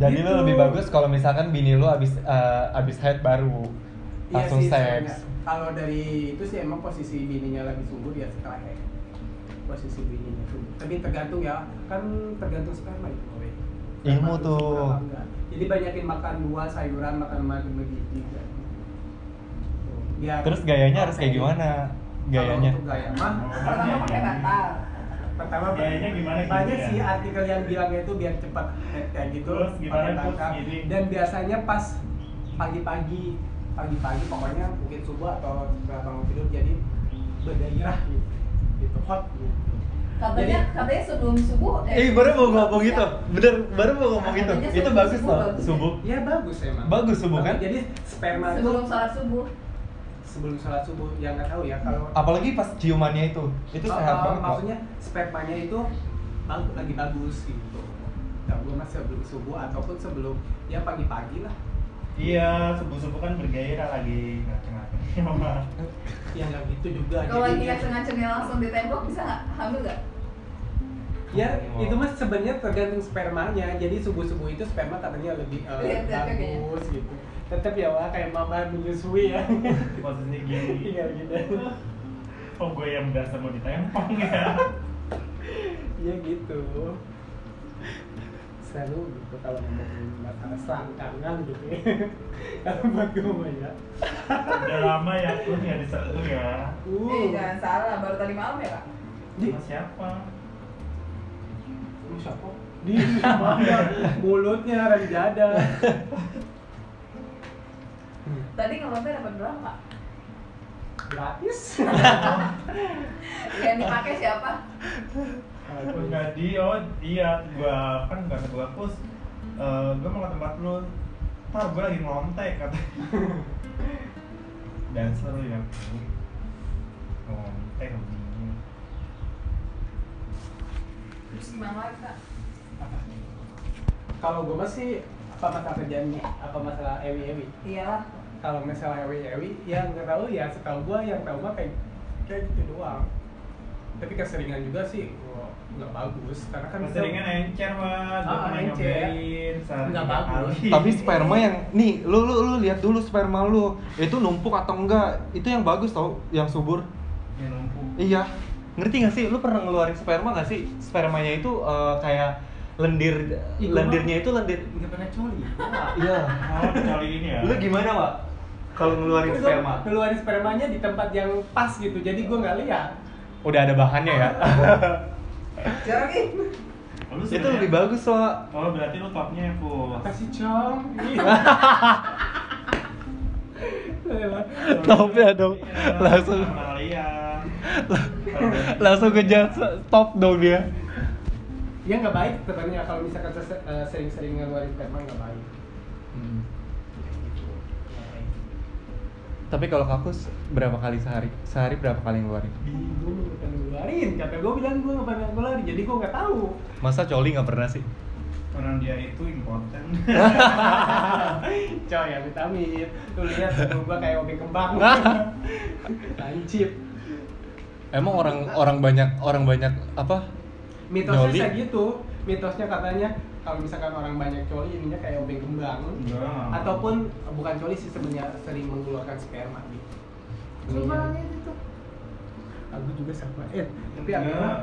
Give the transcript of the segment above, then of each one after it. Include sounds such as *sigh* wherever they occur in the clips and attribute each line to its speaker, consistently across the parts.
Speaker 1: Jadi
Speaker 2: Gitu.
Speaker 1: lu lebih bagus kalau misalkan bini lu abis eh, abis head baru
Speaker 2: Iya
Speaker 1: langsung
Speaker 2: sih, sebenarnya.
Speaker 1: seks.
Speaker 2: Kalau dari itu sih emang posisi bininya lagi subur ya setelah hack. Posisi bininya subur. Tapi tergantung ya, kan tergantung sperma itu. Boy. Sperma
Speaker 1: Ilmu
Speaker 2: itu
Speaker 1: tuh.
Speaker 2: subur apa enggak. Jadi banyakin makan buah, sayuran, makan madu begitu. gitu. Biar
Speaker 1: Terus gayanya harus kayak gimana? Gayanya.
Speaker 2: Kalau
Speaker 1: Iya.
Speaker 2: untuk gaya
Speaker 1: *laughs*
Speaker 2: mah
Speaker 3: Pertama pakai bantal.
Speaker 2: pertama
Speaker 4: Gayanya gimana gitu
Speaker 2: banyak
Speaker 4: ya?
Speaker 2: sih artikel yang bilangnya itu biar cepat head kayak gitu
Speaker 4: Terus gimana,
Speaker 2: pakai
Speaker 4: terus
Speaker 2: tangkap.
Speaker 4: gini?
Speaker 2: dan biasanya pas pagi-pagi pagi-pagi pokoknya mungkin subuh atau setelah bangun tidur jadi bergairah gitu gitu hot gitu
Speaker 3: Katanya
Speaker 2: Jadi-
Speaker 3: katanya sebelum subuh. iya.
Speaker 1: Eh, baru mau ngomong gitu. Bener, baru mau ngomong gitu.
Speaker 3: Katanya
Speaker 1: Itu
Speaker 3: sebelum
Speaker 1: bagus
Speaker 3: subuh
Speaker 1: loh,
Speaker 3: bagus.
Speaker 1: subuh.
Speaker 2: ya bagus emang
Speaker 1: Bagus subuh, kan?
Speaker 2: jadi sperma itu
Speaker 3: Sebelum sholat subuh.
Speaker 2: sebelum sholat subuh ya nggak tahu ya kalau
Speaker 1: Apalagi pas ciumannya itu. Ah, Itu
Speaker 2: Oh,
Speaker 1: sehat
Speaker 2: oh,
Speaker 1: banget. Pak.
Speaker 2: maksudnya spermanya itu bag- lagi bagus gitu Nah, gue mas sebelum subuh ataupun sebelum ya pagi-pagi lah
Speaker 4: Iya, subuh-subuh kan bergairah lagi ngaceng-ngaceng sama
Speaker 2: ya nggak gitu juga
Speaker 3: Kalau lagi
Speaker 2: Jadi,
Speaker 1: Iya.
Speaker 3: ngaceng-ngacengnya langsung di tembok bisa nggak? Hamil nggak?
Speaker 2: ya itu mas sebenarnya tergantung spermanya jadi subuh subuh itu sperma katanya lebih eh,
Speaker 3: Lihat, lihat Iya, kayaknya.
Speaker 2: bagus gitu tetap ya wah kayak mama menyusui ya
Speaker 4: di posisi gini.
Speaker 2: tinggal gitu
Speaker 4: Oh, gue yang berasa mau ditempong ya.
Speaker 2: ya gitu selalu gitu kalau ngomongin masalah selangkangan gitu ya kalau buat gue mah ya
Speaker 4: Udah lama ya aku nggak diseru ya.
Speaker 2: uh
Speaker 3: Eh jangan salah, baru tadi malam ya kak.
Speaker 2: Di-
Speaker 4: Sama siapa?
Speaker 2: Lu siapa? Di mana? Mulutnya dari dada.
Speaker 3: Tadi ngelontar dapat berapa?
Speaker 2: Gratis.
Speaker 3: Yang dipakai siapa?
Speaker 4: Aku tadi oh iya gua kan nggak kedua kus. Eh, gue mau ke tempat lu. Ntar gue lagi ngontek kata.
Speaker 2: *laughs*
Speaker 4: Dancer lu ya. Ngontek begini.
Speaker 3: Terus gimana lagi kak?
Speaker 2: Kalau gue masih apa masalah kerjaan nih? Apa masalah ewi-ewi?
Speaker 3: Iyalah.
Speaker 2: Kalau masalah ewi-ewi, ya nggak tahu ya. Setahu gue yang tahu mah kayak kayak gitu doang. Tapi keseringan juga sih gua nggak bagus karena kan kita-
Speaker 4: Keseringan ya. encer wah, gue
Speaker 2: Ah,
Speaker 4: pernah
Speaker 2: encer.
Speaker 1: ya?
Speaker 4: nyobain sehari
Speaker 2: Nggak
Speaker 4: tiga
Speaker 2: bagus.
Speaker 4: kali.
Speaker 1: Tapi sperma yang nih, lu lu lu lihat dulu sperma lu. Itu numpuk atau enggak? Itu yang bagus tau, yang subur.
Speaker 4: Ya lumpuh.
Speaker 1: Iya. Ngerti gak sih? Lu pernah ngeluarin sperma gak sih? Spermanya itu eh, kayak lendir
Speaker 2: Ih, gua
Speaker 1: lendirnya itu lendir.
Speaker 2: nggak pernah coli.
Speaker 1: Iya.
Speaker 4: Oh, kali ini ya.
Speaker 1: Lu gimana, Pak? Kalau ngeluarin sperma?
Speaker 2: Keluarin spermanya di tempat yang pas gitu, jadi gue nggak lihat.
Speaker 1: Udah ada bahannya ya.
Speaker 3: Jorok ih.
Speaker 4: Oh,
Speaker 1: *laughs*
Speaker 4: Lu
Speaker 1: Itu
Speaker 4: sebenarnya-
Speaker 1: lebih bagus, Pak.
Speaker 4: Oh, berarti lu topnya ya, Pus.
Speaker 2: Makasih Cong.
Speaker 1: Top ya dong.
Speaker 4: Iya,
Speaker 1: Langsung *laughs*
Speaker 4: Amalia.
Speaker 1: langsung kejar stop dong dia.
Speaker 2: Ya nggak baik sebenarnya kalau misalkan ses- eh, sering-sering ngeluarin sperma nggak baik.
Speaker 1: Hmm.
Speaker 2: gitu. Nah,
Speaker 1: Tapi kalau kakus berapa kali sehari? Sehari berapa kali ngeluarin?
Speaker 2: Bingung nggak pernah ngeluarin, kata gue bilang gue nggak pernah ngeluarin, jadi gue nggak tahu.
Speaker 1: Masa coli nggak pernah sih?
Speaker 4: Orang dia itu
Speaker 1: *laughs*
Speaker 4: impoten.
Speaker 2: Coy, ya vitamin. Lu lihat tubuh gue kayak obeng kembang. *laughs* Tancip.
Speaker 1: Emang orang orang banyak orang banyak apa?
Speaker 2: Mitosnya
Speaker 1: Nyoli.
Speaker 2: kayak gitu. Mitosnya katanya kalau misalkan orang banyak coli ininya kayak obeng kembang.
Speaker 4: Enggak.
Speaker 2: Ataupun eh, bukan coli sih sebenarnya sering mengeluarkan sperma gitu.
Speaker 3: Coba lihat itu.
Speaker 2: Aku juga sama Ed. Tapi
Speaker 4: Ya.
Speaker 2: aku
Speaker 1: Iya.
Speaker 2: mah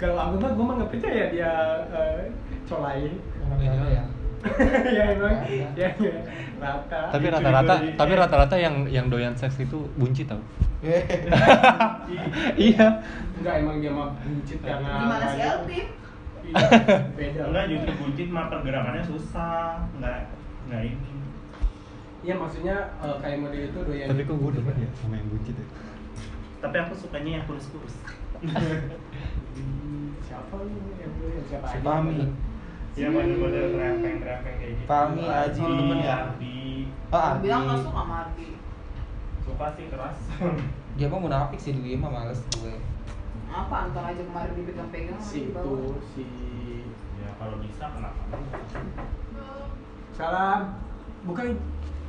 Speaker 2: kalau aku mah gue mah nggak percaya dia eh, colai. *laughs*
Speaker 1: Iya.
Speaker 2: ya emang ya ya rata.
Speaker 1: Tapi rata-rata tapi rata-rata yang yang doyan seks itu bunci *laughs* tau? Iya.
Speaker 2: Enggak emang dia mah buncit karena.
Speaker 3: Gimana sih Elvin?
Speaker 2: Iya, Beda.
Speaker 4: Enggak justru buncit mah pergerakannya susah. Enggak enggak ini.
Speaker 2: Iya maksudnya eh, kayak model itu doyan.
Speaker 1: Tapi kok gue demen ya sama yang bunci ya?
Speaker 4: Tapi aku sukanya yang kurus-kurus.
Speaker 2: Hmm, Siapa lu yang doyan? siapa aja?
Speaker 1: Fahmi.
Speaker 4: Ya model-model rempeng-rempeng kayak gitu.
Speaker 1: Hmm. Fahmi,
Speaker 2: Aji,
Speaker 4: Ardi,
Speaker 2: temen ya?
Speaker 4: Ardi.
Speaker 1: Nah,
Speaker 3: Aku
Speaker 1: Ah,
Speaker 3: bilang nggak suka sama Ardi.
Speaker 4: Suka sih keras.
Speaker 5: dia mah munafik sih dulu mah males gue
Speaker 3: Apa Anton aja kemarin dipegang-pegang
Speaker 2: Si
Speaker 3: lagi di
Speaker 2: itu
Speaker 3: bawah.
Speaker 2: si
Speaker 4: ya kalau bisa kenapa enggak?
Speaker 2: salam. Bukain.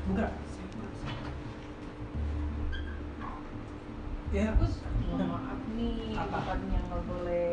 Speaker 2: Buka. Ya,
Speaker 3: Terus mohon maaf nih,
Speaker 2: Apa?
Speaker 3: Iya, bukannya nggak boleh